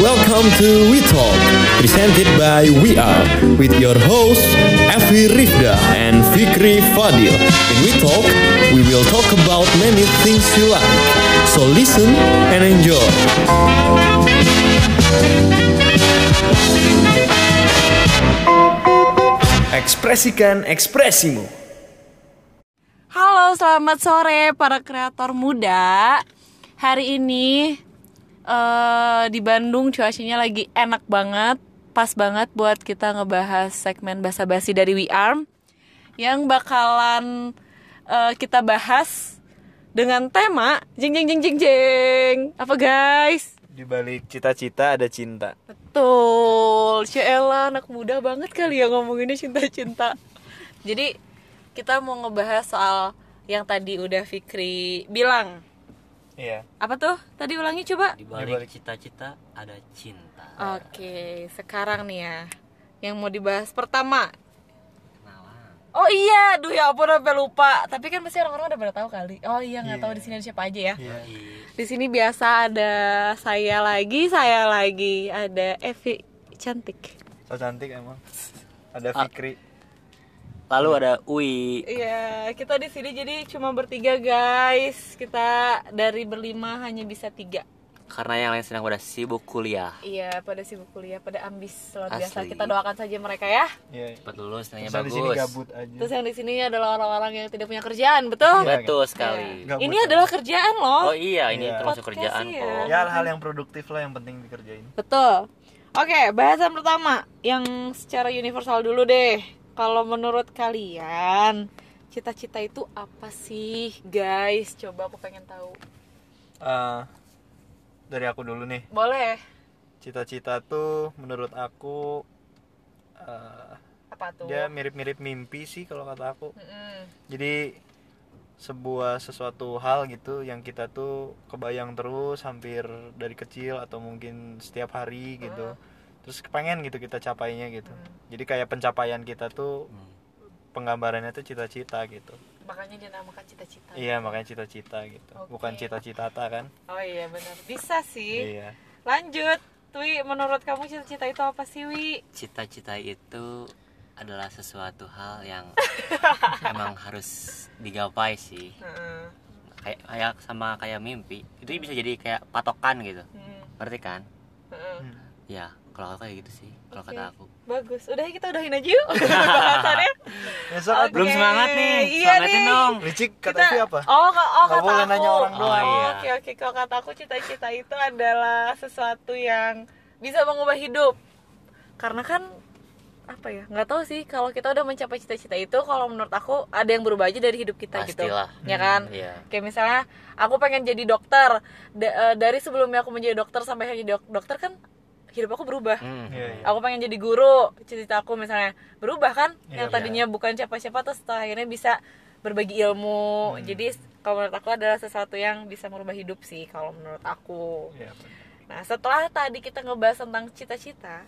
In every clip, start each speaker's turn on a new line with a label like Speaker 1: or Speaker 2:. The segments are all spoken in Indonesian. Speaker 1: Welcome to We Talk, presented by We Are, with your hosts Evi Rifda and Fikri Fadil. In We Talk, we will talk about many things you like. So listen and enjoy. Ekspresikan ekspresimu.
Speaker 2: Halo, selamat sore para kreator muda. Hari ini eh, di Bandung cuacanya lagi enak banget, pas banget buat kita ngebahas segmen basa-basi dari We Arm yang bakalan eh, kita bahas dengan tema jeng jeng jeng jeng jeng. Apa guys?
Speaker 3: Di balik cita-cita ada cinta.
Speaker 2: Betul, Sheila anak muda banget kali ya ngomonginnya cinta-cinta. Jadi kita mau ngebahas soal yang tadi udah Fikri bilang.
Speaker 3: Iya.
Speaker 2: Apa tuh? Tadi ulangi coba.
Speaker 4: di balik cita-cita ada cinta
Speaker 2: Oke, sekarang nih ya yang mau dibahas pertama. Oh iya, duh ya ampun sampai lupa. Tapi kan pasti orang-orang udah pada tahu kali. Oh iya, nggak tahu di sini ada siapa aja ya. Di sini biasa ada saya lagi, saya lagi, ada Evi cantik.
Speaker 3: So cantik emang. Ada Fikri.
Speaker 4: lalu ada Ui
Speaker 2: Iya, kita di sini jadi cuma bertiga guys. Kita dari berlima hanya bisa tiga.
Speaker 4: karena yang lain sedang pada sibuk kuliah
Speaker 2: Iya, pada sibuk kuliah, pada ambis luar biasa.
Speaker 4: Asli.
Speaker 2: Kita doakan saja mereka ya.
Speaker 3: Iya.
Speaker 4: cepat lulus nilainya
Speaker 3: Misal di sini
Speaker 4: bagus
Speaker 3: gabut aja.
Speaker 2: Terus yang di sini adalah orang-orang yang tidak punya kerjaan, betul?
Speaker 4: betul sekali
Speaker 3: Gabut.
Speaker 2: Ini adalah kerjaan loh.
Speaker 4: Ya. oh iya ini
Speaker 3: Iya.
Speaker 4: termasuk
Speaker 2: Podcast
Speaker 4: kerjaan
Speaker 2: iya.
Speaker 4: kok
Speaker 3: Ya hal-hal yang produktif lah yang penting dikerjain.
Speaker 2: Betul. Oke, bahasan pertama yang secara universal dulu deh. Kalau menurut kalian, cita-cita itu apa sih, guys? Coba aku pengen tahu.
Speaker 3: Eh, dari aku dulu nih.
Speaker 2: Boleh.
Speaker 3: Cita-cita tuh menurut aku eh,
Speaker 2: Apa tuh?
Speaker 3: dia mirip-mirip mimpi sih kalau kata aku.
Speaker 2: Mm-mm.
Speaker 3: Jadi sebuah sesuatu hal gitu yang kita tuh kebayang terus hampir dari kecil atau mungkin setiap hari gitu. Terus kepengen gitu kita capainya gitu. Jadi kayak pencapaian kita tuh penggambarannya tuh cita-cita gitu.
Speaker 2: makanya dinamakan cita-cita.
Speaker 3: Iya, makanya cita-cita gitu.
Speaker 2: Oke.
Speaker 3: Bukan cita-cita kan?
Speaker 2: Oh iya benar. Bisa sih.
Speaker 3: Iya.
Speaker 2: Lanjut. Wi, menurut kamu cita-cita itu apa sih, Wi?
Speaker 4: cita-cita itu adalah sesuatu hal yang emang harus digapai sih
Speaker 2: Heeh.
Speaker 4: kayak kayak sama kayak mimpi itu bisa jadi kayak patokan gitu
Speaker 2: Hmm,
Speaker 4: ngerti kan
Speaker 2: heeh.
Speaker 4: ya kalau aku kayak gitu sih kalau
Speaker 2: Oke.
Speaker 4: kata aku
Speaker 2: Bagus. Udah kita udahin aja yuk. Bahasannya.
Speaker 3: Besok
Speaker 2: Oke.
Speaker 4: belum semangat nih
Speaker 2: Iya
Speaker 4: semangatin
Speaker 2: nih.
Speaker 4: dong
Speaker 3: Licik kata
Speaker 2: Kita-
Speaker 3: Fi apa?
Speaker 2: Oh, ka- oh
Speaker 3: Nggak
Speaker 2: kata
Speaker 3: boleh
Speaker 2: aku.
Speaker 3: nanya orang
Speaker 4: doang.
Speaker 2: Oh,
Speaker 4: Iya.
Speaker 2: Oke oke. Kalau kata aku cita-cita itu adalah sesuatu yang bisa mengubah hidup. Karena kan apa ya? Nggak tahu sih. Kalau kita udah mencapai cita-cita itu, kalau menurut aku ada yang berubah aja dari hidup kita gitu.
Speaker 4: Pastilah.
Speaker 2: Ya kan?
Speaker 3: Hmm,
Speaker 4: iya
Speaker 2: Kayak misalnya aku pengen jadi dokter. Da- eh, dari sebelumnya aku menjadi dokter sampai akhirnya jadi dok- dokter kan hidup aku berubah.
Speaker 4: Hmm.
Speaker 3: Iya, iya.
Speaker 2: Aku pengen jadi guru, cita-cita aku misalnya berubah kan?
Speaker 3: Iya,
Speaker 2: yang tadinya bukan siapa-siapa terus setelah akhirnya bisa berbagi ilmu.
Speaker 3: Hmm.
Speaker 2: Jadi kalau menurut aku adalah sesuatu yang bisa merubah hidup sih kalau menurut aku.
Speaker 3: Iya.
Speaker 2: Nah, setelah tadi kita ngebahas tentang cita-cita,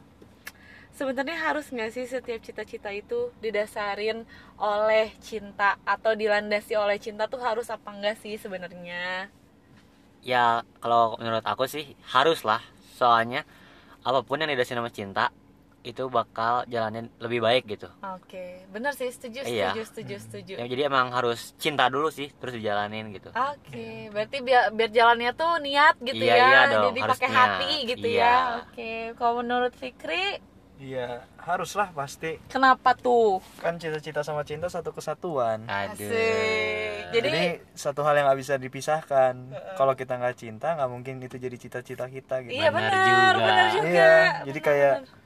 Speaker 2: sebenarnya harus nggak sih setiap cita-cita itu didasarin oleh cinta atau dilandasi oleh cinta tuh harus apa enggak sih sebenarnya?
Speaker 4: ya kalau menurut aku sih harus lah soalnya apapun yang didasari sama cinta itu bakal jalannya lebih baik gitu
Speaker 2: Oke, bener sih, setuju,
Speaker 4: Iya.
Speaker 2: setuju, setuju,
Speaker 3: Hmm.
Speaker 2: setuju.
Speaker 4: ya, jadi emang harus cinta dulu sih terus dijalanin gitu
Speaker 2: Oke, berarti biar biar jalannya tuh niat gitu
Speaker 4: Iya,
Speaker 2: ya,
Speaker 4: iya dong,
Speaker 2: jadi
Speaker 4: harus
Speaker 2: pakai
Speaker 4: niat.
Speaker 2: hati gitu
Speaker 4: Iya.
Speaker 2: ya. Oke, kalau menurut Fikri,
Speaker 3: Iya, haruslah pasti.
Speaker 2: kenapa tuh?
Speaker 3: Kan cita-cita sama cinta satu kesatuan.
Speaker 4: aduh
Speaker 2: Asik. Jadi,
Speaker 3: Jadi satu hal yang nggak bisa dipisahkan. Kalau kita nggak cinta, nggak mungkin itu jadi cita-cita kita gitu.
Speaker 2: iya
Speaker 4: benar
Speaker 2: benar,
Speaker 4: juga.
Speaker 2: benar juga.
Speaker 3: Iya, jadi
Speaker 2: benar,
Speaker 3: kayak
Speaker 2: benar.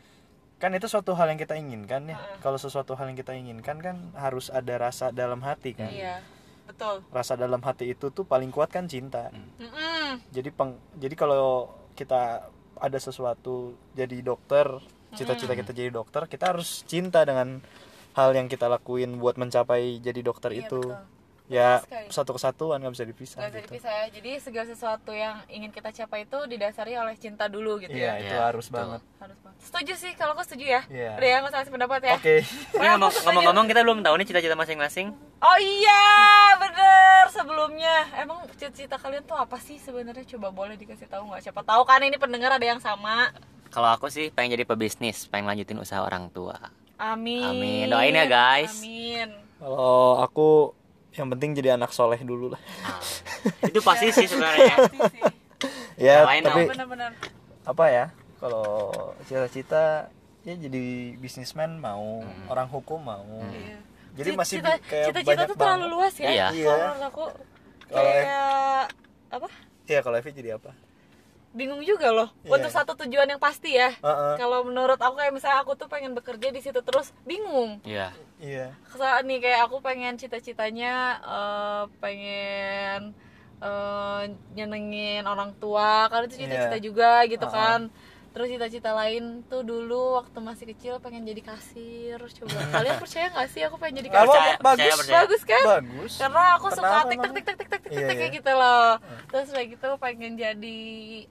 Speaker 3: kan itu suatu hal yang kita inginkan ya. Kalau sesuatu hal yang kita inginkan kan harus ada rasa dalam hati kan.
Speaker 2: Iya, betul.
Speaker 3: Rasa dalam hati itu tuh paling kuat kan cinta.
Speaker 2: Mm-mm.
Speaker 3: Jadi peng, jadi kalau kita ada sesuatu jadi dokter, cita-cita kita jadi dokter, kita harus cinta dengan hal yang kita lakuin buat mencapai jadi dokter
Speaker 2: Iya,
Speaker 3: itu.
Speaker 2: betul.
Speaker 3: Ya
Speaker 2: Betul sekali.
Speaker 3: satu kesatuan nggak bisa dipisah.
Speaker 2: Gak bisa
Speaker 3: gitu.
Speaker 2: dipisah ya. Jadi segala sesuatu yang ingin kita capai itu didasari oleh cinta dulu gitu ya.
Speaker 3: Iya, itu
Speaker 4: Iya,
Speaker 3: harus
Speaker 4: betul.
Speaker 3: banget.
Speaker 2: Harus banget. Setuju sih, kalau aku setuju ya.
Speaker 3: Iya.
Speaker 2: Udah ya, nggak usah ngasih pendapat ya.
Speaker 3: Oke.
Speaker 4: Ini ngomong- Iya, ngomong-ngomong kita belum tahu nih cita-cita masing-masing
Speaker 2: Oh iya, bener. Sebelumnya, emang cita-cita kalian tuh apa sih sebenarnya? Coba boleh dikasih tahu nggak? Siapa tahu kan ini pendengar ada yang sama.
Speaker 4: kalau aku sih pengen jadi pebisnis, pengen lanjutin usaha orang tua.
Speaker 2: Amin.
Speaker 4: Amin. Doain ya, guys.
Speaker 2: Amin.
Speaker 3: Kalau aku yang penting jadi anak soleh dulu lah.
Speaker 4: Ah, itu pasti sih sebenarnya.
Speaker 2: Pasti sih.
Speaker 3: ya,
Speaker 4: Yang lain
Speaker 3: tapi
Speaker 4: apa?
Speaker 2: Benar-benar.
Speaker 3: apa ya? Kalau cita-cita ya jadi bisnismen mau, orang hukum mau.
Speaker 2: Iya.
Speaker 3: Jadi masih
Speaker 2: Cita-
Speaker 3: bi- kayak
Speaker 2: cita-cita
Speaker 3: banyak
Speaker 2: tuh terlalu
Speaker 3: banget.
Speaker 2: luas ya.
Speaker 4: Iya.
Speaker 2: Kalau menurut aku
Speaker 3: Kalau-
Speaker 2: kayak apa?
Speaker 3: Iya, kalau Evi jadi apa?
Speaker 2: Bingung juga loh.
Speaker 3: Iya.
Speaker 2: Untuk satu tujuan yang pasti ya.
Speaker 3: Heeh.
Speaker 2: Kalau menurut aku kayak misalnya aku tuh pengen bekerja di situ terus bingung.
Speaker 4: Iya.
Speaker 3: Iya.
Speaker 2: Saat nih kayak aku pengen cita-citanya eh, pengen eh, nyenengin orang tua kan itu cita-cita
Speaker 3: Iya.
Speaker 2: juga gitu kan. Terus cita-cita lain tuh dulu waktu masih kecil pengen jadi kasir. Coba kalian percaya gak sih aku pengen jadi
Speaker 3: Apa?
Speaker 2: kasir?
Speaker 4: Percaya,
Speaker 3: bagus,
Speaker 4: percaya, percaya.
Speaker 2: Bagus kan?
Speaker 3: Bagus.
Speaker 2: karena aku suka
Speaker 3: Kenapa
Speaker 2: tik tik
Speaker 3: emang?
Speaker 2: tik tik tik tik tik
Speaker 3: Iya,
Speaker 2: tik kayak
Speaker 3: iya.
Speaker 2: gitu loh terus kayak gitu pengen jadi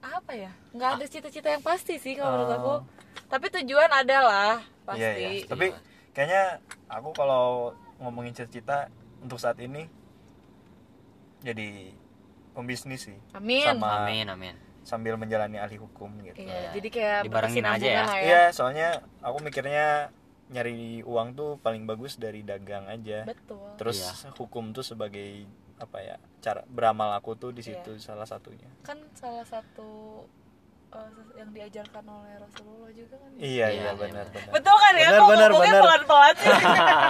Speaker 2: apa ya nggak ada cita-cita yang pasti sih kalau menurut aku tapi tujuan adalah
Speaker 3: Oh. Iya,
Speaker 2: pasti
Speaker 3: iya. Tapi kayaknya aku kalau ngomongin cita-cita untuk saat ini jadi pembisnis sih.
Speaker 2: amin
Speaker 3: Sama
Speaker 4: Amin, amin.
Speaker 3: sambil menjalani ahli hukum gitu.
Speaker 2: Iya, jadi kayak
Speaker 4: Dibarengin aja ya.
Speaker 2: berkesinambungan lah
Speaker 3: Iya, soalnya aku mikirnya nyari uang tuh paling bagus dari dagang aja.
Speaker 2: betul
Speaker 3: Terus hukum tuh sebagai apa ya? Cara beramal aku tuh di situ salah satunya.
Speaker 2: kan salah satu eh, yang diajarkan oleh Rasulullah juga kan
Speaker 4: Iya,
Speaker 3: Iya, iya
Speaker 4: iya,
Speaker 3: benar benar.
Speaker 2: betul kan ya
Speaker 3: Benar,
Speaker 2: kok
Speaker 3: benar,
Speaker 2: ngomongnya
Speaker 3: benar.
Speaker 2: pelan-pelan sih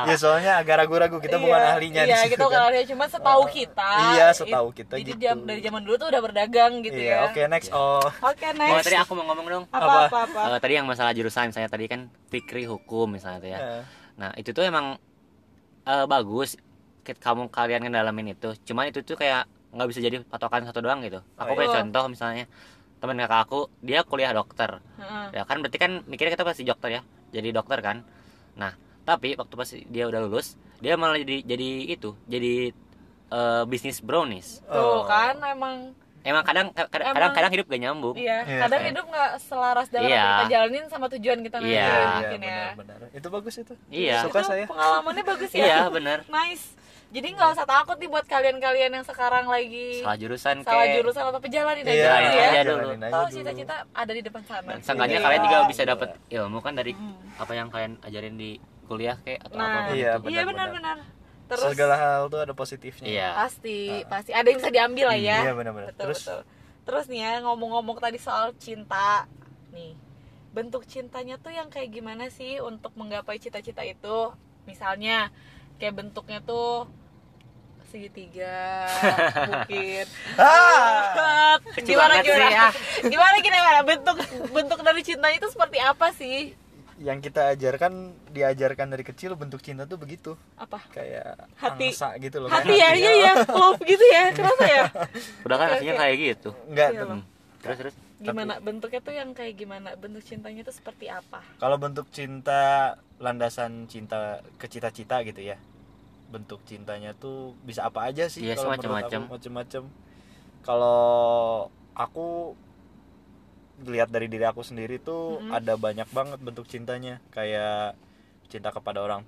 Speaker 3: ya soalnya agak ragu-ragu kita bukan
Speaker 2: Iya,
Speaker 3: ahlinya
Speaker 2: iya,
Speaker 3: di situ.
Speaker 2: kita bukan
Speaker 3: kan.
Speaker 2: ahlinya cuma setahu kita
Speaker 3: Iya, setahu
Speaker 2: it-
Speaker 3: kita
Speaker 2: jadi
Speaker 3: gitu.
Speaker 2: jam- dari zaman dulu tuh udah berdagang gitu
Speaker 3: Iya,
Speaker 2: ya
Speaker 3: oke next. Oh,
Speaker 2: Oke,
Speaker 4: Oh,
Speaker 2: next.
Speaker 4: tadi aku mau ngomong dong.
Speaker 2: apa apa apa?
Speaker 4: Eh, tadi yang masalah jurusan misalnya tadi kan Fikri hukum misalnya tuh ya.
Speaker 3: eh,
Speaker 4: Nah itu tuh emang eh, bagus Ke- kamu kalian ngedalamin itu. Cuman itu tuh kayak nggak bisa jadi patokan satu doang gitu. Aku
Speaker 3: iya.
Speaker 4: punya
Speaker 2: Oh.
Speaker 4: contoh misalnya teman kakak aku dia kuliah dokter.
Speaker 2: Heeh.
Speaker 4: Ya kan berarti kan mikirnya kita pasti dokter ya. Jadi dokter kan. Nah tapi waktu pas dia udah lulus dia malah jadi jadi itu jadi eh, bisnis brownies.
Speaker 2: Tuh
Speaker 3: Oh.
Speaker 2: kan emang
Speaker 4: Emang kadang kadang kadang, kadang hidup gak nyambung.
Speaker 2: iya,
Speaker 3: Iya.
Speaker 2: kadang hidup nggak selaras dalam
Speaker 4: Iya.
Speaker 2: apa yang kita jalanin sama tujuan kita nanti
Speaker 4: Iya,
Speaker 2: ya,
Speaker 3: iya,
Speaker 2: mungkin ya.
Speaker 3: benar-benar. Itu bagus itu.
Speaker 4: Iya.
Speaker 3: Suka
Speaker 2: Itu
Speaker 3: saya.
Speaker 2: Pengalamannya bagus ya.
Speaker 4: Iya bener
Speaker 2: Nice. Jadi nggak usah takut nih buat kalian-kalian yang sekarang lagi
Speaker 4: Salah jurusan
Speaker 2: Iya. salah
Speaker 4: kek.
Speaker 2: jurusan atau perjalanan
Speaker 3: Iya,
Speaker 2: aja dulu ya.
Speaker 4: aja dulu.
Speaker 3: jalanin aja
Speaker 2: Tahu
Speaker 3: dulu.
Speaker 2: cita-cita ada di depan sana.
Speaker 4: Dan Kan seenggaknya
Speaker 2: Iya. Hmm.
Speaker 4: kalian juga bisa dapat ilmu kan dari apa yang kalian ajarin di kuliah kayak atau
Speaker 2: Nah,
Speaker 4: apa
Speaker 3: Iya,
Speaker 4: gitu.
Speaker 2: iya
Speaker 3: benar,
Speaker 2: benar-benar. Terus
Speaker 3: segala hal tuh ada positifnya.
Speaker 4: Iya.
Speaker 2: Ah, pasti pasti ada yang bisa diambil lah ya
Speaker 3: Iya, benar-benar.
Speaker 2: betul,
Speaker 3: Terus?
Speaker 2: betul. terus nih ya ngomong-ngomong tadi soal cinta nih bentuk cintanya tuh yang kayak gimana sih untuk menggapai cita-cita itu misalnya kayak bentuknya tuh segitiga mungkin
Speaker 3: Ah!
Speaker 4: Kecil
Speaker 2: gimana
Speaker 4: banget sih,
Speaker 2: gimana
Speaker 4: ya.
Speaker 2: gimana gimana bentuk bentuk dari cintanya itu seperti apa sih
Speaker 3: Yang kita ajarkan diajarkan dari kecil bentuk cinta tuh begitu.
Speaker 2: apa
Speaker 3: Kayak
Speaker 2: Hati.
Speaker 3: angsa gitu loh.
Speaker 2: hati ya iya ya love gitu ya kenapa ya
Speaker 4: Udah kan
Speaker 2: Oke,
Speaker 4: rasanya
Speaker 2: oke.
Speaker 4: kayak gitu.
Speaker 3: Enggak.
Speaker 2: Iya, Bang.
Speaker 4: Terus terus
Speaker 2: gimana bentuknya tuh yang kayak gimana bentuk cintanya tuh seperti apa
Speaker 3: Kalau bentuk cinta landasan cinta ke cita-cita gitu ya. Bentuk cintanya tuh bisa apa aja sih?
Speaker 4: Iya,
Speaker 3: kalau menurut
Speaker 4: semacam-macam.
Speaker 3: aku, Macam-macam. Kalau aku lihat dari diri aku sendiri tuh ada banyak banget bentuk cintanya. Kayak cinta kepada orang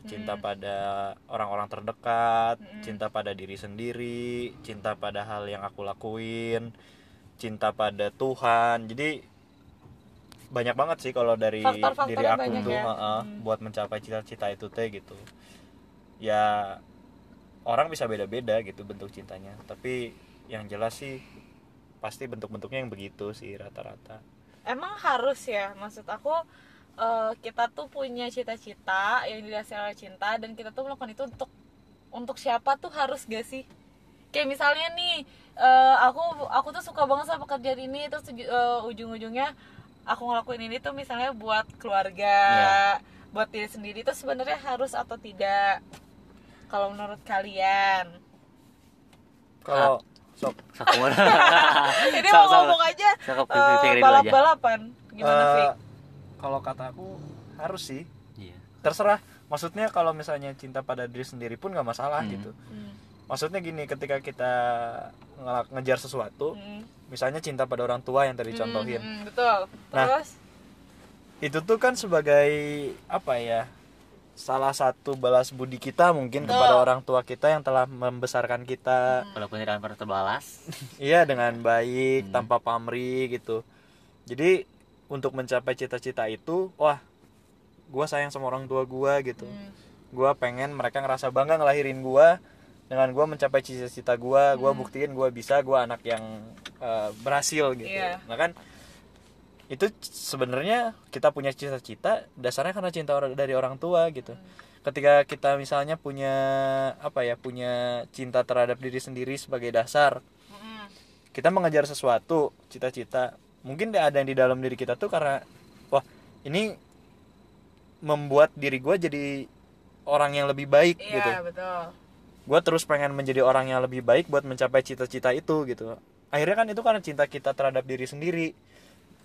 Speaker 2: Hmm.
Speaker 3: cinta pada orang-orang terdekat, cinta pada diri sendiri, cinta pada hal yang aku lakuin, cinta pada Tuhan. Jadi banyak banget sih kalau dari
Speaker 2: Faktor-faktornya
Speaker 3: diri aku
Speaker 2: banyak
Speaker 3: tuh
Speaker 2: ya.
Speaker 3: heeh, buat mencapai cita-cita itu teh gitu ya orang bisa beda-beda gitu bentuk cintanya tapi yang jelas sih pasti bentuk-bentuknya yang begitu sih rata-rata
Speaker 2: emang harus ya maksud aku eh, kita tuh punya cita-cita yang didasari oleh cinta dan kita tuh melakukan itu untuk untuk siapa tuh harus gak sih kayak misalnya nih eh, aku aku tuh suka banget sama pekerjaan ini terus tuju- eh, ujung-ujungnya aku ngelakuin ini tuh misalnya buat keluarga buat diri sendiri itu sebenarnya harus atau tidak kalau menurut kalian Ah.
Speaker 3: kalau sok
Speaker 4: sok mau-
Speaker 2: ini mau
Speaker 4: Sama- sama.
Speaker 2: ngomong aja
Speaker 4: Sok,
Speaker 2: eh,
Speaker 4: Fikri- Fikri dulu aja.
Speaker 2: balap-balapan gimana
Speaker 3: eh,
Speaker 2: sih
Speaker 3: kalau kata aku harus sih
Speaker 4: Iya.
Speaker 3: terserah maksudnya kalau misalnya cinta pada diri sendiri pun nggak masalah
Speaker 4: Hmm.
Speaker 3: gitu
Speaker 2: Hmm,
Speaker 3: maksudnya gini ketika kita ngelak- ngejar sesuatu
Speaker 2: hmm.
Speaker 3: misalnya cinta pada orang tua yang tadi contohin
Speaker 2: Mm, mm, betul.
Speaker 3: Nah.
Speaker 2: Terus
Speaker 3: itu tuh kan sebagai apa ya salah satu balas budi kita mungkin kepada orang tua kita yang telah membesarkan kita
Speaker 4: Walaupun tidak pernah terbalas.
Speaker 3: iya dengan baik tanpa pamrih gitu jadi untuk mencapai cita-cita itu wah gua sayang sama orang tua gua gitu gua pengen mereka ngerasa bangga ngelahirin gua dengan gua mencapai cita-cita gua gua buktiin gua bisa gua anak yang eh, berhasil gitu
Speaker 2: Iya.
Speaker 3: nah kan itu c- sebenarnya kita punya cita-cita dasarnya karena cinta or- dari orang tua gitu ketika kita misalnya punya apa ya punya cinta terhadap diri sendiri sebagai dasar kita mengejar sesuatu cita-cita mungkin nggak ada yang di dalam diri kita tuh karena wah ini membuat diri gue jadi orang yang lebih baik
Speaker 2: Iya,
Speaker 3: gitu
Speaker 2: betul.
Speaker 3: gue terus pengen menjadi orang yang lebih baik buat mencapai cita-cita itu gitu akhirnya kan itu karena cinta kita terhadap diri sendiri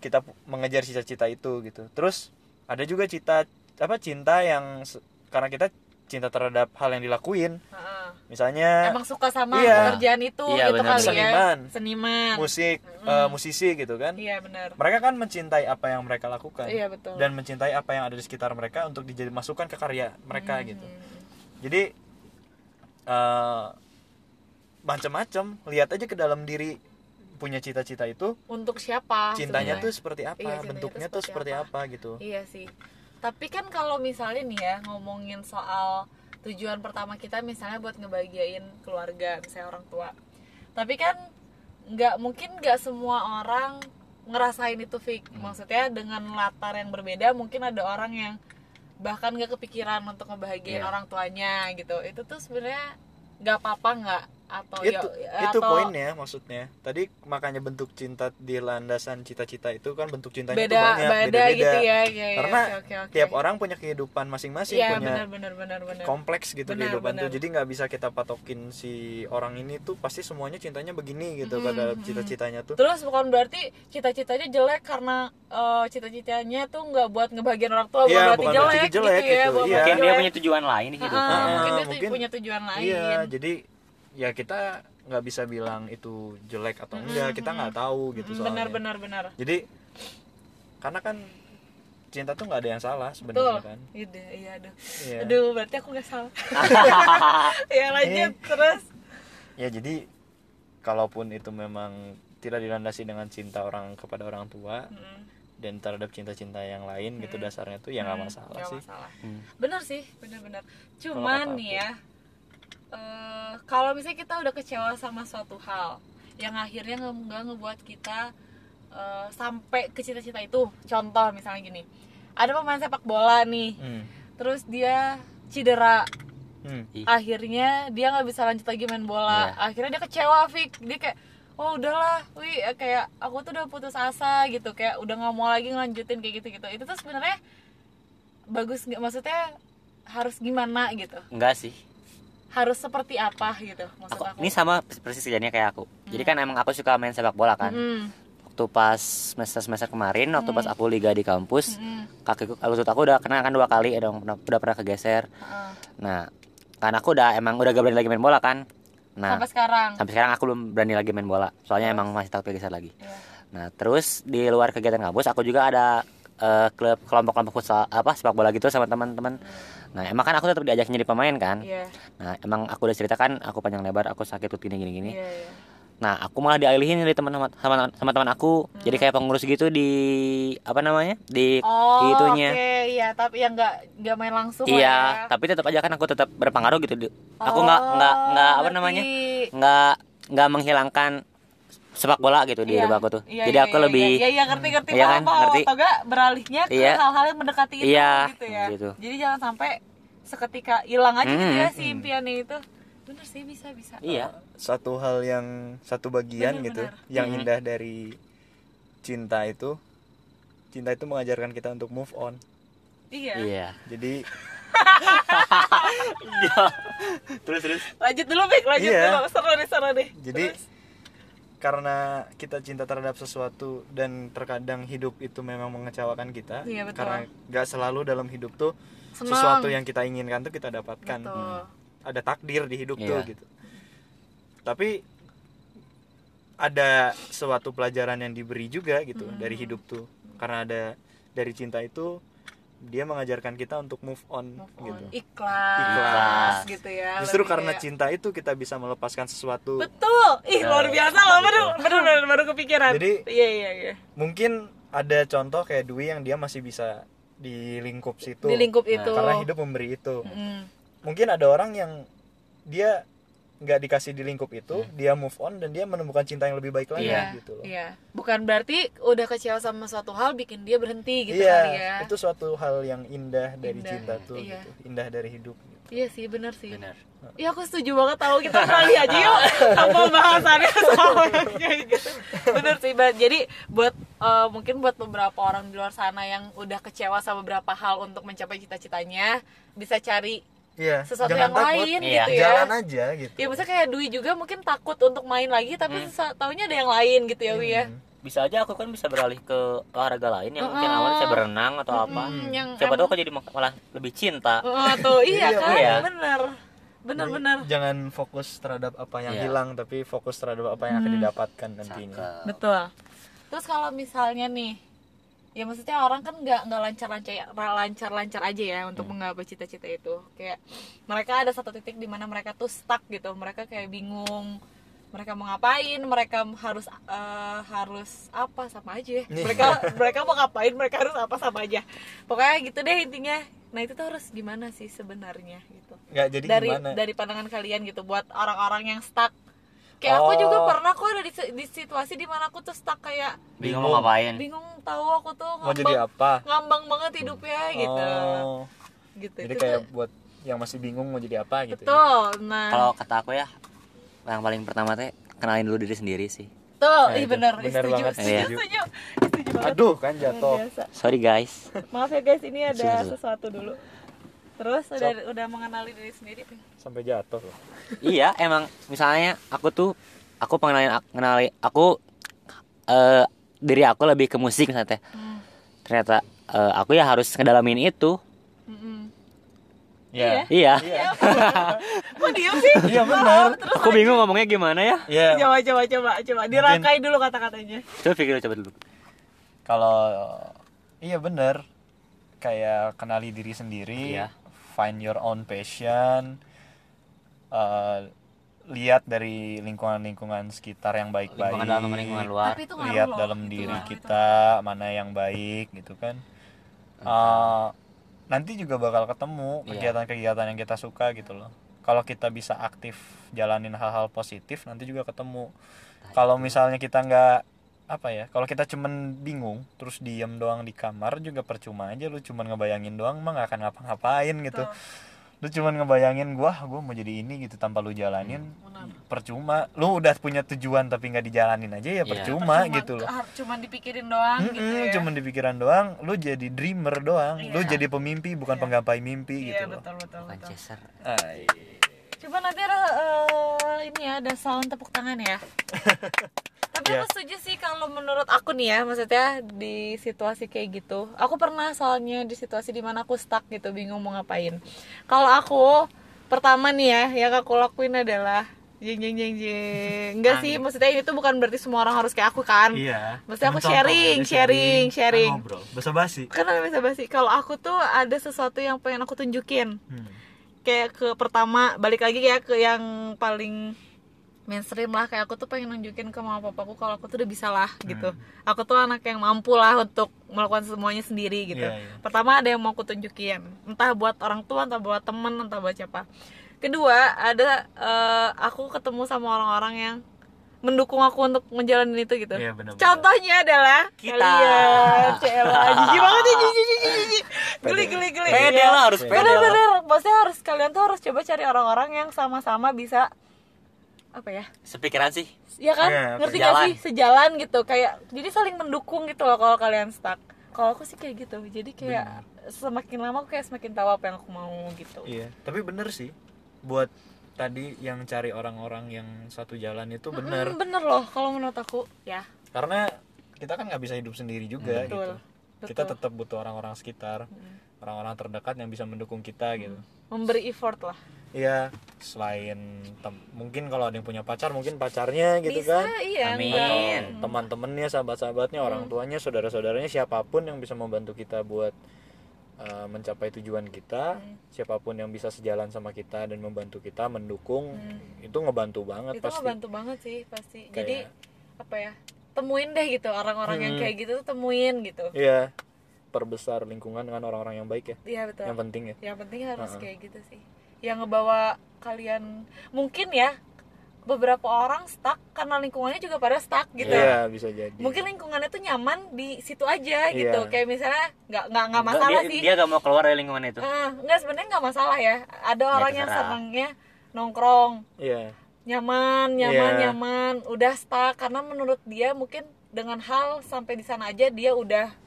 Speaker 3: kita pu- mengejar cita-cita itu gitu terus ada juga cita apa cinta yang se- karena kita cinta terhadap hal yang dilakuin
Speaker 2: Heeh.
Speaker 3: misalnya
Speaker 2: Emang suka sama
Speaker 3: Iya.
Speaker 2: pekerjaan itu
Speaker 4: Iya,
Speaker 2: gitu
Speaker 4: benar.
Speaker 2: kali ya.
Speaker 3: Seniman.
Speaker 2: Seniman.
Speaker 3: musik
Speaker 2: Mm.
Speaker 3: eh, musisi gitu kan
Speaker 2: Iya, benar.
Speaker 3: mereka kan mencintai apa yang mereka lakukan
Speaker 2: Iya, betul.
Speaker 3: dan mencintai apa yang ada di sekitar mereka untuk dimasukkan ke karya
Speaker 2: Hmm.
Speaker 3: mereka gitu jadi eh macam-macam lihat aja ke dalam diri punya cita-cita itu
Speaker 2: Untuk siapa? Ah,
Speaker 3: cintanya
Speaker 2: sebenarnya?
Speaker 3: tuh seperti apa
Speaker 2: Iya, cintanya
Speaker 3: bentuknya
Speaker 2: tuh
Speaker 3: tuh
Speaker 2: seperti
Speaker 3: seperti apa, gitu
Speaker 2: Iya sih. Tapi kan kalau misalnya nih ya ngomongin soal tujuan pertama kita misalnya buat ngebahagiain keluarga, misalnya orang tua. Tapi kan nggak mungkin nggak semua orang ngerasain itu Fik.
Speaker 3: Hmm.
Speaker 2: Maksudnya dengan latar yang berbeda mungkin ada orang yang bahkan nggak kepikiran untuk ngebahagiain
Speaker 4: Iya.
Speaker 2: orang tuanya gitu. Itu tuh sebenarnya nggak apa-apa nggak atau
Speaker 3: itu
Speaker 2: ya atau
Speaker 3: itu poinnya maksudnya tadi makanya bentuk cinta di landasan cita-cita itu kan bentuk cintanya tuh
Speaker 2: beda
Speaker 3: banyak
Speaker 2: beda
Speaker 3: beda-beda
Speaker 2: gitu ya. Iya, iya,
Speaker 3: karena
Speaker 2: oke, oke, oke.
Speaker 3: tiap orang punya kehidupan masing-masing
Speaker 2: Iya
Speaker 3: punya
Speaker 2: benar benar benar benar.
Speaker 3: kompleks
Speaker 2: Iya.
Speaker 3: gitu
Speaker 2: Benar,
Speaker 3: kehidupan tuh
Speaker 2: benar.
Speaker 3: jadi nggak bisa kita patokin si orang ini tuh pasti semuanya cintanya begini
Speaker 2: Hmm,
Speaker 3: gitu pada cita-citanya tuh
Speaker 2: Terus bukan berarti cita-citanya jelek karena eh, cita-citanya tuh nggak buat ngebagian orang tua,
Speaker 3: Iya,
Speaker 2: bukan berarti
Speaker 3: bukan
Speaker 2: jelek,
Speaker 3: berarti jelek
Speaker 2: gitu ya.
Speaker 3: gitu,
Speaker 2: bukan berarti
Speaker 3: iya.
Speaker 4: mungkin dia
Speaker 2: jelek.
Speaker 4: punya gitu. tujuan lain
Speaker 2: Heeh,
Speaker 4: hidup
Speaker 2: mungkin dia
Speaker 3: Ah,
Speaker 2: tuh
Speaker 3: mungkin.
Speaker 2: punya tujuan lain.
Speaker 3: iya jadi ya kita nggak bisa bilang itu
Speaker 2: Hmm,
Speaker 3: jelek atau enggak kita nggak tahu gitu soalnya
Speaker 2: benar benar benar.
Speaker 3: jadi karena kan cinta tuh nggak ada yang salah
Speaker 2: Betul.
Speaker 3: sebenarnya kan
Speaker 2: Iya, deh, iya, aduh.
Speaker 3: Iya.
Speaker 2: Aduh, berarti aku nggak salah. ya
Speaker 3: Eh.
Speaker 2: lanjut terus.
Speaker 3: ya jadi kalaupun itu memang tidak dilandasi dengan cinta orang kepada orang tua
Speaker 2: Hmm.
Speaker 3: dan terhadap cinta-cinta yang lain gitu dasarnya tuh ya nggak masalah
Speaker 2: Nggak
Speaker 3: sih
Speaker 2: masalah.
Speaker 4: Hmm.
Speaker 2: Benar sih, benar-benar. Cuman
Speaker 4: kata
Speaker 2: nih ya, eh, kalau misalnya kita udah kecewa sama suatu hal yang akhirnya nge- nggak ngebuat kita eh, sampai ke cita-cita itu. Contoh misalnya gini, ada pemain sepak bola nih,
Speaker 3: Hmm.
Speaker 2: terus dia cedera,
Speaker 3: Hmm.
Speaker 4: Ih.
Speaker 2: akhirnya dia nggak bisa lanjut lagi main bola.
Speaker 4: Iya.
Speaker 2: Akhirnya dia kecewa, Fik. Dia kayak Oh udahlah, wih eh, kayak aku tuh udah putus asa gitu, kayak udah nggak mau lagi ngelanjutin kayak gitu gitu. Itu tuh sebenarnya bagus nggak maksudnya harus gimana gitu
Speaker 4: enggak sih
Speaker 2: harus seperti apa gitu maksud
Speaker 4: aku
Speaker 2: aku,
Speaker 4: ini sama persis kejadiannya kayak aku jadi kan emang aku suka main sepak bola kan
Speaker 2: Hmm,
Speaker 4: waktu pas semester semester kemarin waktu pas aku liga di kampus
Speaker 2: hmm,
Speaker 4: kakiku lutut aku udah kena kan dua kali udah, udah pernah kegeser
Speaker 2: heeh.
Speaker 4: nah karena aku udah emang udah gak berani lagi main bola kan nah
Speaker 2: sampai sekarang
Speaker 4: sampai sekarang aku belum berani lagi main bola soalnya emang masih takut kegeser lagi
Speaker 2: Iya.
Speaker 4: nah terus di luar kegiatan kampus aku juga ada eh, klub kelompok-kelompok futsal apa sepak bola gitu sama teman-teman nah emang kan aku tetap diajak jadi pemain kan
Speaker 2: iya
Speaker 4: nah emang aku udah ceritakan aku panjang lebar aku sakit lutut gini gini gini
Speaker 2: iya iya
Speaker 4: nah aku malah dialihin dari teman sama sama teman aku jadi
Speaker 2: Hmm.
Speaker 4: kayak pengurus gitu di apa namanya di
Speaker 2: oh
Speaker 4: itunya
Speaker 2: oke iya tapi yang nggak nggak main langsung
Speaker 4: Iya,
Speaker 2: lah ya.
Speaker 4: tapi tetap aja kan aku tetap berpengaruh gitu. di- Aku nggak
Speaker 2: Oh,
Speaker 4: nggak nggak apa
Speaker 2: ngerti.
Speaker 4: namanya nggak nggak menghilangkan sepak bola gitu di
Speaker 2: Iya,
Speaker 4: hidup aku tuh.
Speaker 2: iya,
Speaker 4: Jadi
Speaker 2: iya,
Speaker 4: aku
Speaker 2: iya,
Speaker 4: lebih
Speaker 2: iya iya ngerti ngerti
Speaker 4: Iya kan,
Speaker 2: paham, paham.
Speaker 4: ngerti.
Speaker 2: atau nggak beralihnya ke
Speaker 4: Iya.
Speaker 2: hal-hal yang mendekati itu
Speaker 4: Iya,
Speaker 2: gitu ya
Speaker 4: gitu.
Speaker 2: jadi jangan sampai seketika hilang aja gitu
Speaker 4: Hmm,
Speaker 2: ya si impiannya itu bener sih bisa bisa Oh,
Speaker 4: iya.
Speaker 3: satu hal yang satu bagian
Speaker 2: Benar,
Speaker 3: gitu
Speaker 2: benar.
Speaker 3: yang indah dari cinta itu cinta itu mengajarkan kita untuk move on
Speaker 2: iya
Speaker 4: Iya.
Speaker 3: jadi
Speaker 4: terus terus.
Speaker 2: lanjut dulu Bik lanjut
Speaker 3: Iya.
Speaker 2: dulu seru nih seru nih
Speaker 3: jadi karena kita cinta terhadap sesuatu dan terkadang hidup itu memang mengecewakan kita
Speaker 2: Iya, betul.
Speaker 3: karena nggak selalu dalam hidup tuh
Speaker 2: Senang.
Speaker 3: sesuatu yang kita inginkan tuh kita dapatkan Hmm.
Speaker 2: Betul.
Speaker 3: ada takdir di hidup
Speaker 4: Iya.
Speaker 3: tuh gitu tapi ada suatu pelajaran yang diberi juga gitu
Speaker 2: Hmm.
Speaker 3: dari hidup tuh karena ada dari cinta itu dia mengajarkan kita untuk move on,
Speaker 2: move on.
Speaker 3: gitu
Speaker 2: Ikhlas,
Speaker 3: Ikhlas.
Speaker 2: gitu ya
Speaker 3: justru
Speaker 2: lebih
Speaker 3: karena
Speaker 2: kayak-
Speaker 3: cinta itu kita bisa melepaskan sesuatu
Speaker 4: Iya.
Speaker 2: betul ih luar biasa loh baru baru baru, baru kepikiran
Speaker 3: Jadi-
Speaker 2: iya iya iya
Speaker 3: mungkin ada contoh kayak Dwi yang dia masih bisa di lingkup situ
Speaker 2: di lingkup
Speaker 4: nah,
Speaker 2: itu
Speaker 3: karena hidup memberi itu
Speaker 2: Mm.
Speaker 3: mungkin ada orang yang dia nggak dikasih di lingkup itu dia move on dan dia menemukan cinta yang lebih baik lagi
Speaker 4: Iya.
Speaker 3: gitu loh
Speaker 2: Iya, bukan berarti udah kecewa sama suatu hal bikin dia berhenti gitu
Speaker 3: iya
Speaker 2: kali ya.
Speaker 3: itu suatu hal yang indah dari
Speaker 2: Indah,
Speaker 3: cinta tuh
Speaker 2: iya.
Speaker 3: gitu. indah dari hidup gitu.
Speaker 2: Iya sih, bener sih.
Speaker 4: benar
Speaker 2: Iya aku setuju banget tahu kita kali aja yuk tanpa bahasannya sama kayak gitu. Bener sih, Ban. Jadi buat eh, mungkin buat beberapa orang di luar sana yang udah kecewa sama beberapa hal untuk mencapai cita-citanya bisa cari
Speaker 3: iya
Speaker 2: sesuatu yang
Speaker 3: jangan takut
Speaker 2: lain
Speaker 4: Iya.
Speaker 2: gitu ya.
Speaker 3: jalan aja gitu
Speaker 2: Ya maksudnya kayak Dwi juga mungkin takut untuk main lagi tapi
Speaker 4: Hmm.
Speaker 2: sesa- taunya ada yang lain gitu ya Wi ya.
Speaker 4: bisa aja aku kan bisa beralih ke olahraga lain yang mungkin awalnya saya berenang atau apa
Speaker 2: yang
Speaker 4: siapa tahu aku jadi mak- malah lebih cinta
Speaker 2: Oh, tuh iya
Speaker 3: Iya,
Speaker 2: kan,
Speaker 4: iya.
Speaker 2: bener. Bener-bener.
Speaker 3: Jadi, jangan fokus terhadap apa yang
Speaker 4: Iya.
Speaker 3: hilang tapi fokus terhadap apa yang
Speaker 2: Hmm.
Speaker 3: akan didapatkan nantinya
Speaker 4: Cakep.
Speaker 2: Betul. Terus kalau misalnya nih, ya maksudnya orang kan nggak nggak lancar-lancar lancar-lancar aja ya untuk menggapai cita-cita itu. Kayak mereka ada satu titik di mana mereka tuh stuck gitu. Mereka kayak bingung. Mereka mau ngapain? Mereka harus eh, harus apa sama aja. ya. Mereka mereka mau ngapain? Mereka harus apa sama aja. Pokoknya gitu deh intinya. Nah itu tuh harus gimana sih sebenarnya gitu
Speaker 3: nggak jadi
Speaker 2: dari
Speaker 3: gimana
Speaker 2: dari pandangan kalian gitu buat orang-orang yang stuck kayak aku
Speaker 3: Oh.
Speaker 2: juga pernah kok ada di, si- di situasi dimana aku tuh stuck kayak
Speaker 4: bingung mau ngapain
Speaker 2: bingung tahu aku tuh
Speaker 3: mau jadi
Speaker 2: ngambang,
Speaker 3: apa
Speaker 2: ngambang banget hidupnya gitu
Speaker 3: Oh,
Speaker 2: gitu
Speaker 3: jadi
Speaker 2: Itu
Speaker 3: kayak ya?
Speaker 2: tuh-
Speaker 3: buat yang masih bingung mau jadi apa gitu ya.
Speaker 2: betul nah
Speaker 4: kalau kata aku ya yang paling pertama teh kenalin dulu diri sendiri sih
Speaker 2: betul
Speaker 3: Nah,
Speaker 2: ih
Speaker 3: itu.
Speaker 2: bener,
Speaker 3: Bener
Speaker 2: setuju
Speaker 3: banget.
Speaker 2: setuju
Speaker 4: Iya.
Speaker 2: setuju setuju banget
Speaker 3: aduh kan
Speaker 2: Luar
Speaker 3: jatuh
Speaker 2: biasa.
Speaker 4: sorry guys
Speaker 2: maaf ya guys ini ada
Speaker 4: Sudah, sudah.
Speaker 2: sesuatu dulu terus udah udah mengenali diri sendiri
Speaker 3: sampai jatuh loh
Speaker 4: iya emang misalnya aku tuh aku pengenalin kenali aku eh diri aku lebih ke musik misalnya teh
Speaker 2: Hmm.
Speaker 4: ternyata eh, aku ya harus ngedalamin itu
Speaker 2: Mm-mm.
Speaker 3: Iya.
Speaker 4: iya
Speaker 2: Iya. Kok diem sih?
Speaker 3: Iya, bener.
Speaker 2: Terus
Speaker 4: aku bingung ngomongnya gimana ya
Speaker 3: Iya,
Speaker 2: coba coba coba coba dirangkai dulu kata-katanya.
Speaker 4: coba pikir dulu, coba dulu
Speaker 3: kalau iya bener kayak kenali diri sendiri
Speaker 4: Iya.
Speaker 3: find your own passion eh, lihat dari lingkungan-lingkungan sekitar yang baik-baik
Speaker 4: lingkungan dalam sama lingkungan luar
Speaker 2: Tapi itu ngaruh
Speaker 3: lihat
Speaker 2: loh,
Speaker 3: dalam
Speaker 2: gitu
Speaker 3: diri
Speaker 2: loh.
Speaker 3: kita mana yang baik gitu kan Eh, nanti juga bakal ketemu kegiatan-kegiatan yang kita suka gitu loh kalau kita bisa aktif jalanin hal-hal positif nanti juga ketemu kalau misalnya kita nggak apa ya kalau kita cuman bingung terus diem doang di kamar juga percuma aja lu cuman ngebayangin doang emang nggak akan ngapa-ngapain gitu lu cuman ngebayangin gua "Ah, gua mau jadi ini gitu tanpa lu jalanin percuma lu udah punya tujuan tapi nggak dijalanin aja
Speaker 4: Iya.
Speaker 3: ya percuma gitu loh
Speaker 2: har- cuman dipikirin doang
Speaker 3: Mm-mm,
Speaker 2: gitu ya.
Speaker 3: cuman di pikiran doang lu jadi dreamer doang lu
Speaker 2: Iya.
Speaker 3: jadi pemimpi bukan penggapai mimpi
Speaker 2: Iya
Speaker 3: gitu loh
Speaker 2: betul betul betul.
Speaker 4: Manchester
Speaker 3: Ay.
Speaker 2: Coba nanti ada eh, ini ya ada sound tepuk tangan ya. Tapi aku
Speaker 3: Iya.
Speaker 2: setuju sih kalau menurut aku nih ya maksudnya di situasi kayak gitu. Aku pernah soalnya di situasi dimana aku stuck gitu bingung mau ngapain. Kalau aku pertama nih ya yang aku lakuin adalah jeng jeng jeng jeng. Enggak sih maksudnya ini tuh bukan berarti semua orang harus kayak aku kan.
Speaker 3: iya
Speaker 2: Mesti aku sharing,
Speaker 3: ya,
Speaker 2: sharing, sharing.
Speaker 3: Ah, ngobrol basa basi
Speaker 2: Karena bisa basi. Kalau aku tuh ada sesuatu yang pengen aku tunjukin.
Speaker 3: Hmm.
Speaker 2: Kayak ke pertama balik lagi ya ke yang paling mainstream lah kayak aku tuh pengen nunjukin ke mama papaku kalau aku tuh udah bisa lah gitu.
Speaker 3: Hmm.
Speaker 2: Aku tuh anak yang mampu lah untuk melakukan semuanya sendiri gitu.
Speaker 3: Iya, iya.
Speaker 2: Pertama ada yang mau aku tunjukin, entah buat orang tua, entah buat temen, entah buat siapa. Kedua ada eh, aku ketemu sama orang-orang yang mendukung aku untuk menjalani itu gitu.
Speaker 3: Iya, benar-benar.
Speaker 2: Contohnya adalah
Speaker 4: Kita.
Speaker 2: kalian, Cela, jijik banget ya, jijik, jijik, jijik. Geli, geli, geli.
Speaker 4: pede
Speaker 2: Iya.
Speaker 4: lah harus pede lah
Speaker 2: Bener-bener, maksudnya harus kalian tuh harus coba cari orang-orang yang sama-sama bisa apa ya?
Speaker 4: sepikiran sih
Speaker 2: Ya kan?
Speaker 3: Iya,
Speaker 2: Ngerti gak
Speaker 4: sejalan.
Speaker 2: sih? Sejalan gitu kayak jadi saling mendukung gitu loh kalau kalian stuck. Kalau aku sih kayak gitu. Jadi kayak semakin lama aku kayak semakin tahu apa yang aku mau gitu.
Speaker 3: Iya, tapi bener sih buat tadi yang cari orang-orang yang satu jalan itu bener
Speaker 2: Hmm, bener loh kalau menurut aku ya.
Speaker 3: karena kita kan nggak bisa hidup sendiri juga
Speaker 2: Betul,
Speaker 3: gitu. Kita tetap butuh orang-orang sekitar, orang-orang terdekat yang bisa mendukung kita gitu.
Speaker 2: Memberi effort lah.
Speaker 3: Iya, selain tem- mungkin kalau ada yang punya pacar mungkin pacarnya gitu
Speaker 2: bisa
Speaker 3: kan.
Speaker 2: iya. Hmm.
Speaker 4: Amin.
Speaker 2: enggak.
Speaker 3: Atau Hmm. Teman-temannya, sahabat-sahabatnya, orang tuanya, saudara-saudaranya, siapapun yang bisa membantu kita buat uh, mencapai tujuan kita,
Speaker 2: Hmm.
Speaker 3: siapapun yang bisa sejalan sama kita dan membantu kita, mendukung, itu ngebantu
Speaker 2: Hmm.
Speaker 3: banget
Speaker 2: itu
Speaker 3: pasti.
Speaker 2: ngebantu banget sih pasti jadi apa ya temuin deh gitu orang-orang yang kayak gitu tuh temuin gitu
Speaker 3: Hmm. Iya. Perbesar lingkungan dengan orang-orang yang baik ya.
Speaker 2: iya betul
Speaker 3: Yang penting ya.
Speaker 2: yang penting harus kayak gitu sih yang ngebawa kalian mungkin ya beberapa orang stuck karena lingkungannya juga pada stuck gitu
Speaker 3: Iya, bisa jadi.
Speaker 2: mungkin lingkungannya tuh nyaman di situ aja
Speaker 3: Iya.
Speaker 2: gitu kayak misalnya nggak nggak nggak masalah
Speaker 4: dia,
Speaker 2: sih
Speaker 4: dia gak mau keluar dari lingkungan itu
Speaker 2: Eh, nggak sebenarnya nggak masalah ya ada orang yang
Speaker 4: terserah.
Speaker 2: senangnya nongkrong
Speaker 3: Iya.
Speaker 2: nyaman nyaman
Speaker 3: Iya.
Speaker 2: nyaman udah stuck karena menurut dia mungkin dengan hal sampai di sana aja dia udah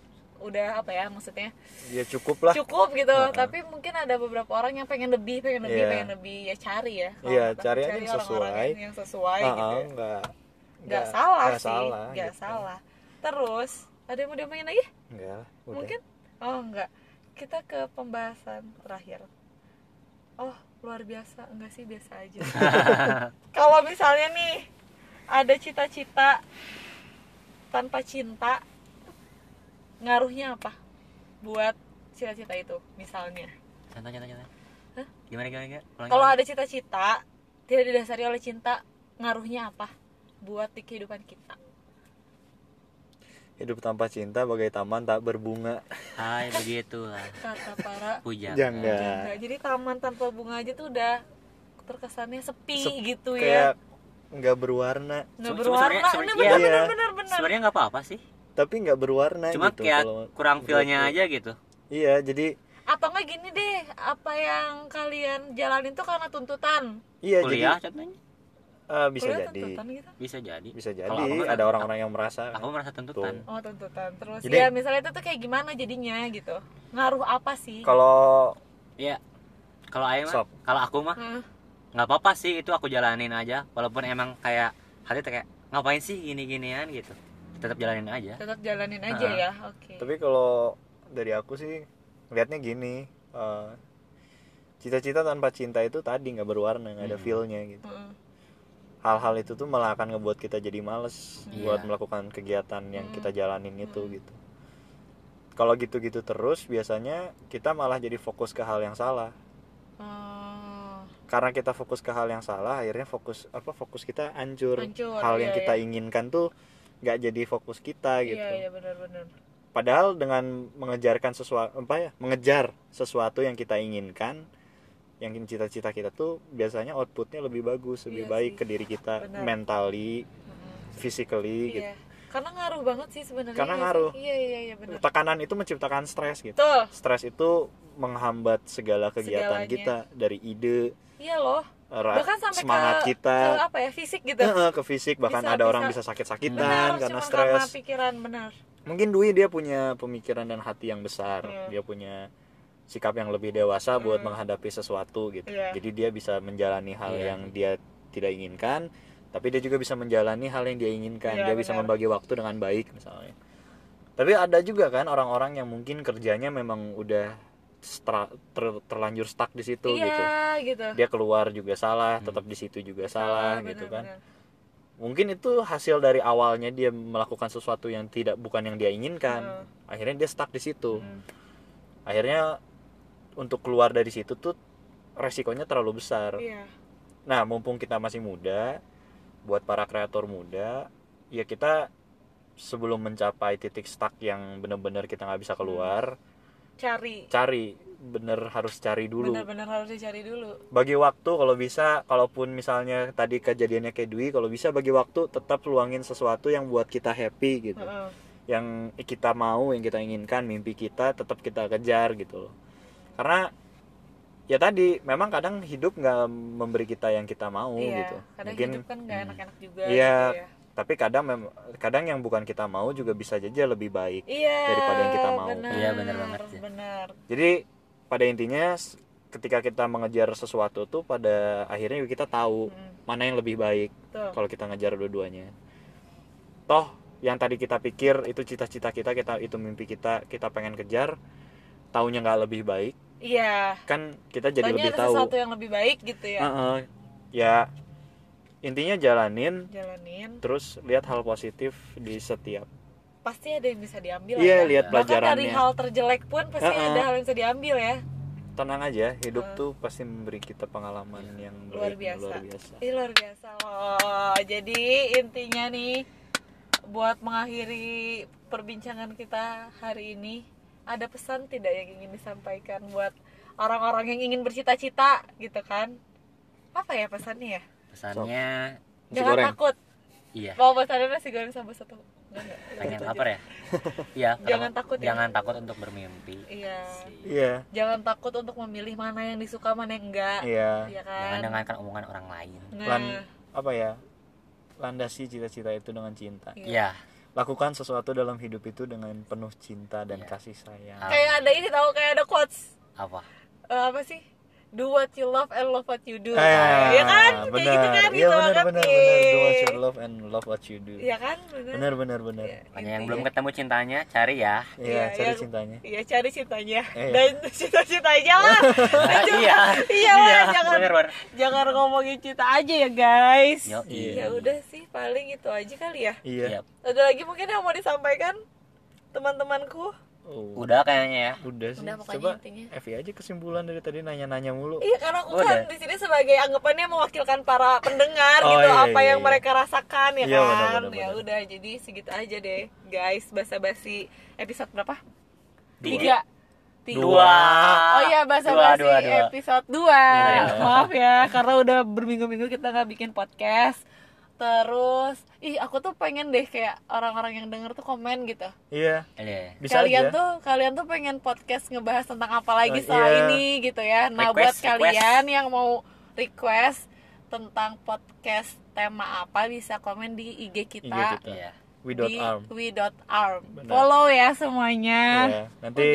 Speaker 2: udah apa ya maksudnya
Speaker 3: Ya cukup lah.
Speaker 2: cukup gitu tapi mungkin ada beberapa orang yang pengen lebih pengen lebih
Speaker 3: Iya.
Speaker 2: pengen lebih ya cari ya Kalau
Speaker 3: Iya,
Speaker 2: kata aku,
Speaker 3: cari aja yang
Speaker 2: orang-orang
Speaker 3: sesuai.
Speaker 2: yang- yang sesuai
Speaker 3: Ah,
Speaker 2: gitu
Speaker 3: ah,
Speaker 2: ya.
Speaker 3: enggak.
Speaker 2: nggak salah
Speaker 3: enggak
Speaker 2: sih
Speaker 3: salah.
Speaker 2: nggak
Speaker 3: gitu.
Speaker 2: salah terus ada yang mau diomongin lagi
Speaker 3: Enggak lah, udah.
Speaker 2: mungkin oh enggak kita ke pembahasan terakhir oh luar biasa enggak sih biasa aja kalau misalnya nih ada cita-cita tanpa cinta ngaruhnya apa buat cita-cita itu misalnya
Speaker 4: contoh contoh contoh
Speaker 2: Hah?
Speaker 4: gimana gimana gimana Ulangi,
Speaker 2: kalau
Speaker 4: ulangi.
Speaker 2: ada cita-cita tidak didasari oleh cinta ngaruhnya apa buat di kehidupan kita
Speaker 3: Hidup tanpa cinta bagai taman tak berbunga.
Speaker 4: hai begitulah
Speaker 2: kata para
Speaker 4: puja
Speaker 3: Jangga.
Speaker 2: janda jadi taman tanpa bunga aja tuh udah terkesannya sepi
Speaker 3: Sep-
Speaker 2: gitu ya
Speaker 3: Kayak enggak berwarna,
Speaker 2: nggak
Speaker 4: Cuma-
Speaker 2: berwarna
Speaker 4: sebenarnya-
Speaker 2: bener
Speaker 4: sebenarnya-
Speaker 2: ya. bener bener
Speaker 3: iya.
Speaker 2: bener bener
Speaker 4: sebenarnya nggak apa-apa sih
Speaker 3: tapi enggak berwarna
Speaker 4: cuma
Speaker 3: gitu
Speaker 4: kayak
Speaker 3: kalau-
Speaker 4: kurang feelnya
Speaker 3: menurutku.
Speaker 4: aja gitu
Speaker 3: Iya, jadi
Speaker 2: atau nggak gini deh apa yang kalian jalanin tuh karena tuntutan
Speaker 3: iya
Speaker 4: kuliah
Speaker 3: jadi
Speaker 4: contohnya
Speaker 3: ah, bisa
Speaker 2: Kuliah
Speaker 3: jadi.
Speaker 2: tuntutan gitu
Speaker 4: bisa jadi
Speaker 3: Bisa jadi
Speaker 4: Kalau aku kan-
Speaker 3: ada orang-orang yang merasa
Speaker 4: aku merasa tuntutan
Speaker 2: oh tuntutan terus
Speaker 3: Jadi-
Speaker 2: ya misalnya itu tuh kayak gimana jadinya gitu ngaruh apa sih
Speaker 3: kalau
Speaker 4: Iya. Kalau Aing mah,
Speaker 3: Sok.
Speaker 4: kalau aku mah
Speaker 2: Heeh.
Speaker 4: nggak apa-apa sih itu aku jalanin aja walaupun emang kayak hati tuh kayak ngapain sih gini-ginian gitu. Tetap jalanin aja.
Speaker 2: tetap jalanin aja
Speaker 4: Ah.
Speaker 2: ya oke
Speaker 3: Tapi kalau dari aku sih ngeliatnya gini, eh, cita-cita tanpa cinta itu tadi nggak berwarna, nggak ada
Speaker 4: Hmm.
Speaker 3: feelnya gitu.
Speaker 2: Heeh.
Speaker 3: Hal-hal itu tuh malah akan ngebuat kita jadi males
Speaker 4: Iya.
Speaker 3: buat melakukan kegiatan yang kita jalanin itu gitu. Kalau gitu-gitu terus, biasanya kita malah jadi fokus ke hal yang salah.
Speaker 2: Oh,
Speaker 3: Karena kita fokus ke hal yang salah, akhirnya fokus apa fokus kita hancur.
Speaker 2: Hancur,
Speaker 3: hal yang
Speaker 2: iya,
Speaker 3: kita
Speaker 2: iya.
Speaker 3: inginkan tuh nggak jadi fokus kita gitu.
Speaker 2: iya iya benar benar
Speaker 3: Padahal dengan mengejarkan sesuatu apa ya, mengejar sesuatu yang kita inginkan, yang cita-cita kita tuh biasanya outputnya lebih bagus, lebih
Speaker 2: Iya
Speaker 3: baik
Speaker 2: sih.
Speaker 3: ke diri kita,
Speaker 2: Benar.
Speaker 3: mentally, physically gitu.
Speaker 2: iya karena ngaruh banget sih sebenarnya
Speaker 3: Karena
Speaker 2: ya sih?
Speaker 3: ngaruh.
Speaker 2: iya iya iya benar
Speaker 3: Tekanan itu menciptakan stres gitu.
Speaker 2: betul
Speaker 3: Stres itu menghambat segala kegiatan
Speaker 2: Segalanya.
Speaker 3: kita dari ide,
Speaker 2: iya loh
Speaker 3: ra-
Speaker 2: bahkan sampai
Speaker 3: semangat
Speaker 2: ke,
Speaker 3: kita,
Speaker 2: ke apa ya fisik gitu
Speaker 3: eh, eh, ke fisik, bahkan
Speaker 2: Bisa-
Speaker 3: ada orang
Speaker 2: bisa.
Speaker 3: bisa sakit-sakitan
Speaker 2: benar
Speaker 3: karena
Speaker 2: cuma
Speaker 3: stres.
Speaker 2: karena pikiran benar
Speaker 3: mungkin Dwi dia punya pemikiran dan hati yang besar
Speaker 2: Iya.
Speaker 3: dia punya sikap yang lebih dewasa buat menghadapi sesuatu gitu
Speaker 2: Hmm. Iya.
Speaker 3: jadi dia bisa menjalani hal
Speaker 4: Iya.
Speaker 3: yang dia tidak inginkan tapi dia juga bisa menjalani hal yang dia inginkan
Speaker 2: Iya,
Speaker 3: dia bisa
Speaker 2: benar.
Speaker 3: membagi waktu dengan baik misalnya tapi ada juga kan orang-orang yang mungkin kerjanya memang udah stra- ter- terlanjur stuck di situ gitu
Speaker 2: iya gitu
Speaker 3: dia keluar juga salah tetap di situ juga salah
Speaker 2: Benar,
Speaker 3: gitu kan
Speaker 2: benar.
Speaker 3: mungkin itu hasil dari awalnya dia melakukan sesuatu yang tidak bukan yang dia inginkan akhirnya dia stuck di situ akhirnya untuk keluar dari situ tuh resikonya terlalu besar
Speaker 2: iya
Speaker 3: nah mumpung kita masih muda buat para kreator muda ya kita sebelum mencapai titik stuck yang bener-bener kita nggak bisa keluar
Speaker 2: cari
Speaker 3: cari bener harus cari dulu
Speaker 2: benar-benar harus dicari dulu
Speaker 3: bagi waktu kalau bisa kalaupun misalnya tadi kejadiannya kayak Dwi kalau bisa bagi waktu tetap luangin sesuatu yang buat kita happy gitu
Speaker 2: Heeh.
Speaker 3: yang kita mau yang kita inginkan mimpi kita tetap kita kejar gitu loh karena ya tadi memang kadang hidup nggak memberi kita yang kita mau
Speaker 2: iya
Speaker 3: gitu
Speaker 2: kadang
Speaker 3: mungkin
Speaker 2: hidup kan nggak enak-enak juga
Speaker 3: iya
Speaker 2: gitu ya.
Speaker 3: tapi kadang mem- kadang yang bukan kita mau juga bisa jadi lebih baik
Speaker 2: iya
Speaker 3: Daripada yang kita mau.
Speaker 2: benar,
Speaker 4: Iya, benar banget sih.
Speaker 2: benar
Speaker 3: Jadi pada intinya s- ketika kita mengejar sesuatu tuh pada akhirnya kita tahu mana yang lebih baik
Speaker 2: Hmm. Betul.
Speaker 3: kalau kita ngejar dua-duanya. Toh yang tadi kita pikir itu cita-cita kita, kita itu mimpi kita, kita pengen kejar, taunya nggak lebih baik,
Speaker 2: iya
Speaker 3: kan kita jadi
Speaker 2: Pokoknya
Speaker 3: lebih
Speaker 2: ada
Speaker 3: tahu. Ah.
Speaker 2: sesuatu yang lebih baik gitu ya
Speaker 3: Heeh. Ya intinya jalanin
Speaker 2: jalanin
Speaker 3: terus lihat hal positif di setiap.
Speaker 2: pasti ada yang bisa diambil
Speaker 3: Iya,
Speaker 2: lah ya.
Speaker 3: lihat
Speaker 2: Bahkan dari
Speaker 3: pelajarannya. Ah,
Speaker 2: hal terjelek pun pasti
Speaker 3: Heeh.
Speaker 2: ada hal yang bisa diambil ya
Speaker 3: Tenang aja, hidup tuh pasti memberi kita pengalaman yang
Speaker 2: Iya. luar
Speaker 3: lebih-
Speaker 2: biasa.
Speaker 3: Luar biasa.
Speaker 2: Ih, luar biasa loh. Jadi intinya nih buat mengakhiri perbincangan kita hari ini ada pesan tidak yang ingin disampaikan buat orang-orang yang ingin bercita-cita gitu kan apa ya pesannya ya
Speaker 4: pesannya
Speaker 1: Nasi
Speaker 2: jangan
Speaker 1: goreng.
Speaker 2: takut
Speaker 4: iya
Speaker 2: mau pesannya nasi goreng sama satu
Speaker 4: pengen apa ya iya
Speaker 2: Jangan
Speaker 4: kalau-
Speaker 2: takut ya.
Speaker 4: jangan takut untuk bermimpi
Speaker 2: iya
Speaker 3: Iya.
Speaker 2: jangan takut untuk memilih mana yang disuka mana yang enggak
Speaker 3: Iya.
Speaker 2: Iya
Speaker 4: jangan
Speaker 2: kan
Speaker 4: dengarkan omongan orang lain
Speaker 2: nah
Speaker 3: Lan apa ya? Landasi cita-cita itu dengan cinta.
Speaker 4: iya
Speaker 3: Lakukan sesuatu dalam hidup itu dengan penuh cinta
Speaker 2: Iya.
Speaker 3: dan kasih sayang.
Speaker 2: kayak ada ini tahu kayak ada quotes
Speaker 4: apa
Speaker 2: eh, apa sih do what you love and love what you do
Speaker 3: Eh,
Speaker 2: ya kan kayak gitu kan
Speaker 3: Iya
Speaker 2: gitu
Speaker 3: benar
Speaker 2: banget
Speaker 3: benar
Speaker 2: nih.
Speaker 3: benar. Do what you love and love what you do.
Speaker 2: Iya kan benar
Speaker 3: Benar benar benar.
Speaker 4: Banyak
Speaker 2: Gitu
Speaker 4: yang
Speaker 2: ya.
Speaker 4: belum ketemu cintanya cari ya
Speaker 3: Iya,
Speaker 2: Iya,
Speaker 3: cari
Speaker 2: iya.
Speaker 3: cintanya.
Speaker 2: Iya cari cintanya
Speaker 3: Eh.
Speaker 2: dan cita-citanya lah.
Speaker 4: iya
Speaker 2: iya lah jangan
Speaker 4: bener bener
Speaker 2: jangan ngomongin cinta aja ya guys.
Speaker 4: Yo,
Speaker 2: Ya udah sih paling itu aja kali ya.
Speaker 3: Iya.
Speaker 4: Iya.
Speaker 2: Ada lagi mungkin yang mau disampaikan teman-temanku?
Speaker 3: Oh,
Speaker 4: udah kayaknya ya
Speaker 3: udah sih.
Speaker 2: Udah, pokoknya
Speaker 3: Coba
Speaker 2: intinya.
Speaker 3: Evi aja kesimpulan dari tadi nanya-nanya mulu.
Speaker 2: Iya karena aku
Speaker 3: Oh,
Speaker 4: Udah.
Speaker 2: kan di sini sebagai anggapannya mewakilkan para pendengar
Speaker 3: Oh,
Speaker 2: gitu
Speaker 3: iya,
Speaker 2: apa
Speaker 3: iya,
Speaker 2: yang
Speaker 3: iya.
Speaker 2: mereka rasakan ya
Speaker 3: Iya,
Speaker 2: kan.
Speaker 3: benar, benar,
Speaker 2: ya
Speaker 3: benar.
Speaker 2: udah jadi segitu aja deh guys basa-basi episode berapa?
Speaker 4: Dua.
Speaker 2: Tiga. Tiga. Oh iya bahasa
Speaker 4: Dua,
Speaker 2: basi
Speaker 4: dua, dua.
Speaker 2: episode 2
Speaker 3: Iya,
Speaker 2: Maaf ya karena udah berminggu-minggu kita nggak bikin podcast. Terus, ih aku tuh pengen deh kayak orang-orang yang denger tuh komen gitu.
Speaker 3: Iya,
Speaker 4: Iya.
Speaker 3: bisa
Speaker 2: kalian
Speaker 3: aja.
Speaker 2: tuh kalian tuh pengen podcast ngebahas tentang apa lagi
Speaker 3: Oh,
Speaker 2: soal
Speaker 3: iya.
Speaker 2: ini gitu ya. Nah
Speaker 4: Request,
Speaker 2: buat
Speaker 4: request.
Speaker 2: kalian yang mau request tentang podcast tema apa bisa komen di IG kita,
Speaker 3: Iya, kita.
Speaker 4: Iya.
Speaker 3: Without
Speaker 2: di
Speaker 3: arm.
Speaker 2: we.arm.
Speaker 3: Benar.
Speaker 2: Follow ya semuanya.
Speaker 3: Iya, nanti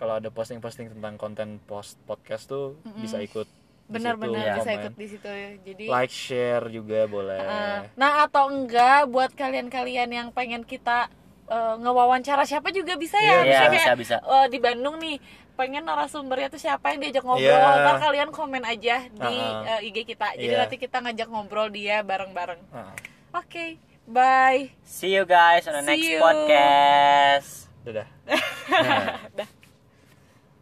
Speaker 3: kalau ada posting-posting tentang konten post podcast tuh bisa ikut di situ,
Speaker 2: Benar-benar bisa
Speaker 3: Iya, komen.
Speaker 2: ikut di situ. Jadi
Speaker 3: like share juga boleh
Speaker 2: Uh, Nah atau enggak buat kalian-kalian yang pengen kita uh, ngewawancara siapa juga bisa ya,
Speaker 3: Iya,
Speaker 2: Misalnya
Speaker 4: bisa,
Speaker 2: kayak,
Speaker 4: bisa.
Speaker 2: uh, di Bandung nih pengen narasumbernya tuh siapa yang diajak ngobrol,
Speaker 3: Iya.
Speaker 2: ntar kalian komen aja di
Speaker 3: Uh-uh.
Speaker 2: uh, IG kita. Jadi
Speaker 3: Iya.
Speaker 2: nanti kita ngajak ngobrol dia bareng-bareng.
Speaker 3: Nah,
Speaker 2: Oke, bye.
Speaker 4: See you guys on the
Speaker 2: See
Speaker 4: next
Speaker 2: you.
Speaker 4: podcast.
Speaker 3: dadah
Speaker 2: Dah.